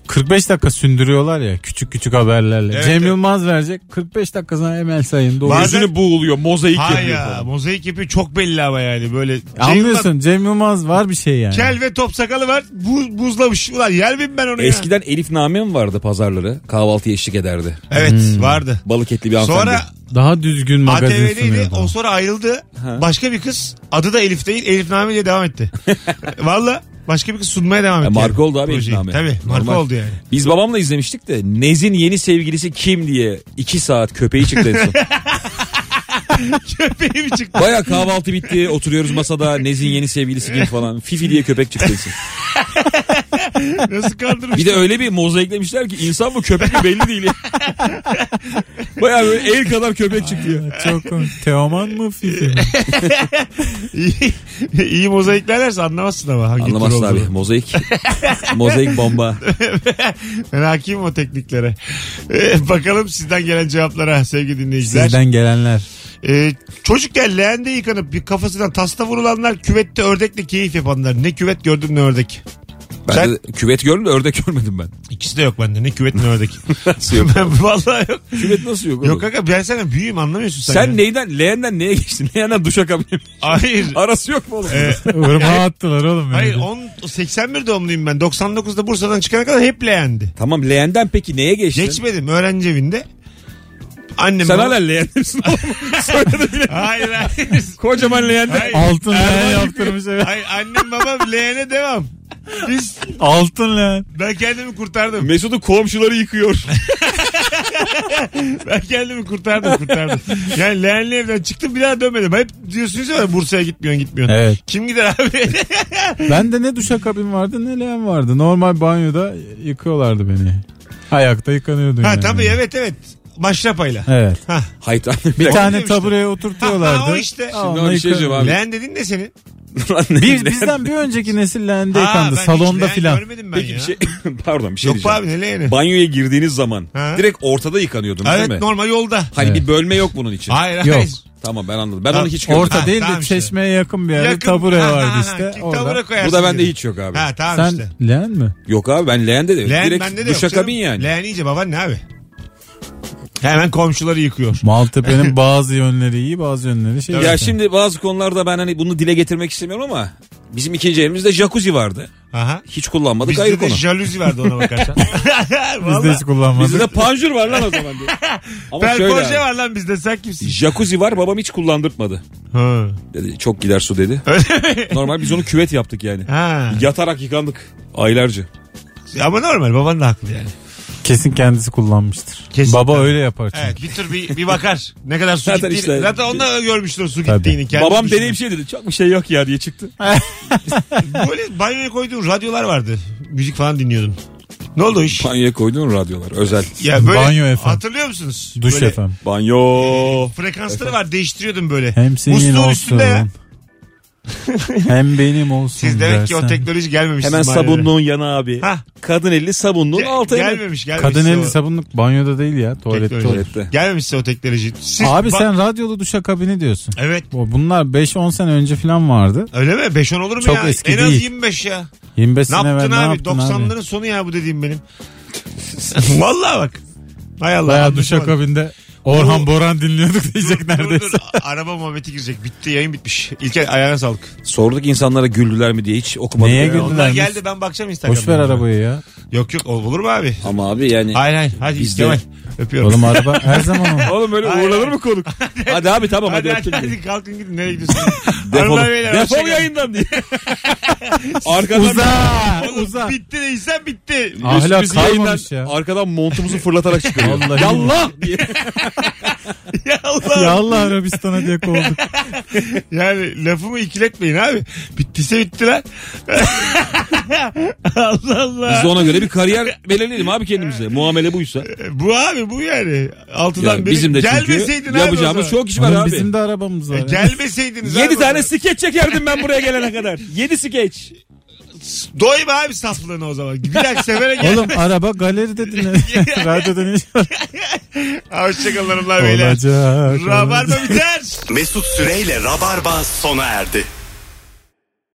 45 dakika sündürüyorlar ya küçük küçük haberlerle.
Evet,
Cem
evet.
Yılmaz verecek 45 dakika sonra Emel Sayın doğru.
Bazen-
Yüzünü buğuluyor mozaik
Hay
yapıyor
ya
falan.
mozaik yapıyor çok belli ama yani böyle. şey
Anlıyorsun Cem Yılmaz var bir şey yani.
Kel ve top sakalı var. Bu, buzlamış. Ulan yer miyim ben onu ya?
Eskiden Elif Nami mi vardı pazarları? Kahvaltıya eşlik ederdi.
Evet vardı.
Balık etli bir hanımefendi.
Sonra
Daha düzgün magazin sunuyor.
ATV'deydi. O
[LAUGHS]
sonra ayrıldı. Başka bir kız. Adı da Elif değil. Elif Nami diye
[LAUGHS]
devam etti. Valla başka bir kız sunmaya devam
Ya
etti.
E, marka oldu abi Elif
Projeyi.
Nami.
Tabii marka
Normal.
oldu yani.
[LAUGHS] Biz babamla izlemiştik de Nez'in yeni sevgilisi kim diye iki saat köpeği çıktı en
[LAUGHS]
son.
Köpeğim çıktı.
Baya kahvaltı bitti oturuyoruz masada Nez'in yeni sevgilisi kim falan. Fifi diye köpek çıktı en son.
Nasıl kandırmış?
Bir de öyle bir mozaiklemişler ki insan mı köpek mi belli değil. ya. Baya böyle el kadar köpek çıktı ya.
[LAUGHS]
Çok komik. Teoman mı Fifi mi?
iyi, iyi mozaiklerlerse anlamazsın ama hangi tur
Anlamazsın abi [LAUGHS]
olduğunu.
mozaik. mozaik bomba.
Ben hakimim o tekniklere. Ee, bakalım sizden gelen cevaplara sevgili dinleyiciler.
Sizden gelenler.
Ee, çocukken leğende yıkanıp bir kafasından tasla vurulanlar küvette ördekle keyif yapanlar. Ne küvet gördüm ne ördek.
Ben
Sen-
de küvet gördüm de ördek görmedim ben.
İkisi de yok bende. Ne küvet ne
[LAUGHS]
ördek.
Nasıl yok?
ben [LAUGHS] vallahi yok.
Küvet nasıl yok?
Yok
oğlum?
kanka ben sana büyüğüm anlamıyorsun sen.
Sen
ya.
neyden leğenden neye geçtin? [LAUGHS] Leğenden duşa [LAUGHS]
Hayır.
Arası yok mu oğlum? [LAUGHS]
Ee,
Irmağa attılar oğlum. beni.
hayır on- 81 doğumluyum ben. 99'da Bursa'dan çıkana kadar hep leğendi.
Tamam leğenden peki neye geçtin?
Geçmedim öğrenci evinde. Annem
Sen
bana-
hala leğenimsin oğlum. Soyadı bile.
[LAUGHS] Hayır hayır.
Kocaman leğenden.
Hayır.
Altın leğen
Erman-
yaptırmış evet.
Hayır annem babam leğene devam. Biz
Altın leğen.
ben kendimi kurtardım.
Mesut'un komşuları yıkıyor.
Ben kendimi kurtardım
[LAUGHS]
kurtardım. Yani leğenli evden çıktım bir daha dönmedim. Hep diyorsunuz ya Bursa'ya gitmiyorsun gitmiyorsun.
Evet.
Kim gider abi? [LAUGHS]
Ben de ne duşakabin vardı ne leğen vardı. Normal banyoda yıkıyorlardı beni. Ayakta yıkanıyordum
ha
yani.
tabii evet evet. Maşrapayla.
Evet.
[LAUGHS] Hayır
Bir
Bir
tane
dedim işte.
tabureye oturtuyorlardı.
Ha, ha, o işte.
Aa,
Şimdi
ona
bir şey
yıkan-
diyeceğim abi.
Leğen dedin ne senin?
[LAUGHS]
Biz, bizden bir önceki nesil leğende
Ha,
yıkandı.
ben hiç
Salonda
leğen
filan.
Görmedim ben
Peki
ya.
bir şey. [LAUGHS] Pardon bir şey
Yok
diyeceğim.
abi ne leğeni?
Banyoya girdiğiniz zaman
Ha.
direkt ortada yıkanıyordunuz
evet
değil mi?
normal yolda.
Hani
Evet.
bir bölme yok bunun için.
Hayır hayır.
Yok.
Tamam ben anladım. Ben
Ha,
onu hiç görmedim.
Orta
Ha,
değil de
tamam işte.
çeşmeye yakın bir yerde
Yakın-
tabure
Ha, ha,
vardı
ha,
işte.
ki
Orada.
Tabure koyarsın.
Burada bende
diye.
hiç yok abi.
Ha tamam
Sen
işte.
leğen mi?
Yok abi ben leğende de yok.
Leğen bende
direkt
de yok.
duşakabin
canım.
yani.
Leğen iyice baban ne abi? Hemen komşuları yıkıyor. [LAUGHS]
Maltepe'nin bazı yönleri iyi bazı yönleri şey.
Ya şimdi bazı konularda ben hani bunu dile getirmek istemiyorum ama bizim ikinci evimizde jacuzzi vardı.
Aha.
Hiç kullanmadık ayrı
Bizde de
konu.
jaluzi vardı ona
[LAUGHS]
bakarsan.
biz de
Valla.
hiç kullanmadık.
Bizde de panjur var lan o zaman
[LAUGHS]
diye. Ama şöyle
Perforje
abi,
var lan bizde sen kimsin?
Jacuzzi var babam hiç kullandırtmadı.
Ha.
Dedi çok gider su dedi. Normal biz onu küvet yaptık yani.
Ha.
Yatarak yıkandık aylarca.
Ama normal baban da haklı yani.
Kesin kendisi kullanmıştır.
Kesin.
Baba öyle yapar çünkü.
Evet bir tür bir, bir bakar. Ne kadar su
Zaten
gittiğini.
işte-
Zaten onda görmüştür su
Tabii.
gittiğini. Kendi
Babam
düşünüyor.
deneyim şey dedi. Çok bir şey yok ya diye çıktı.
Böyle banyoya koyduğum radyolar vardı. Müzik falan dinliyordum. Ne oldu o iş?
Banyoya koyduğun radyolar özel.
Ya böyle
Banyo FM.
hatırlıyor musunuz?
Duş
Böyle
efendim.
Banyo.
Frekansları var değiştiriyordum böyle.
Hem senin
Musluğun
olsun.
üstünde ya.
[LAUGHS] Hem benim olsun
Siz demek ki o
dersen.
teknoloji gelmemiş.
Hemen
sizin mahallelere.
sabunluğun yana abi.
Hah.
Kadın eli sabunluğun
Ge-
altı eli.
gelmemiş gelmemiş.
Kadın
size
eli
o
sabunluk banyoda değil ya tuvalette.
teknoloji.
olur.
tuvalette.
Gelmemiş size o teknoloji. Siz
Abi
bak-
sen radyolu duşakabini diyorsun.
Evet.
Bu- Bunlar 5-10 sene önce falan vardı.
Öyle mi? 5-10 olur mu
Çok
ya?
eski
en az
değil.
25 ya.
25
Ne
sene
yaptın
evvel
abi?
ne yaptın
90'ların sonu ya bu dediğim benim. [LAUGHS] Vallahi bak. Hay Allah.
abi? Bayağı
anlaşamadım.
duşakabinde Orhan
Bu-
Boran dinliyorduk diyecek neredeyse.
Dur, dur. [LAUGHS] Araba muhabbeti girecek. Bitti yayın bitmiş. İlker ayağına sağlık.
Sorduk insanlara güldüler mi diye hiç okumadık.
Neye
Ya.
güldüler?
Onlar
Güzelmiş.
geldi ben bakacağım Instagram'da.
Boş ver arabayı ya.
Yok yok olur mu abi?
Ama abi yani.
Hayır hayır. Hadi
Biz
Kemal.
de-
Öpüyorum.
Oğlum araba
[LAUGHS]
her zaman o.
Oğlum öyle
Hayır,
uğurlanır
hayır.
mı konuk? hadi abi tamam hadi,
Hadi hadi,
öptüm.
hadi kalkın gidin nereye gidiyorsun?
Defol,
Hanımlar, beyler,
defol
hoşçakalın.
yayından
[LAUGHS]
diye. arkadan
Uza!
Oğlum,
Uza!
Bitti değilsen bitti.
Ahlak
üstümüzü yayından,
kalmamış ya.
arkadan montumuzu fırlatarak çıkıyor.
Vallahi.
Yallah diye.
ya
Ya
Allah.
Allah Arabistan'a diye kovulduk.
Yani lafımı ikiletmeyin abi. Bittiyse bitti lan. [LAUGHS] Allah Allah.
Biz de ona göre bir kariyer belirleyelim abi kendimize. Muamele buysa.
E, Bu abi bu yani. Altıdan
Yani
beri
bizim de
gelmeseydin
çünkü
abi o
yapacağımız
zaman.
çok iş var
Oğlum
abi.
bizim de arabamız var.
E,
ya.
gelmeseydiniz
7
abi o
tane
zaman.
skeç çekerdim ben buraya gelene kadar. 7 skeç.
Doyma abi saflığına o zaman. Bir dahaki sefere gel.
Oğlum araba galeri dedin. Radyoda ne iş var?
Hoşçakalın hanımlar beyler.
Olacak. olacak.
Rabarba biter.
Mesut Süreyle Rabarba sona erdi.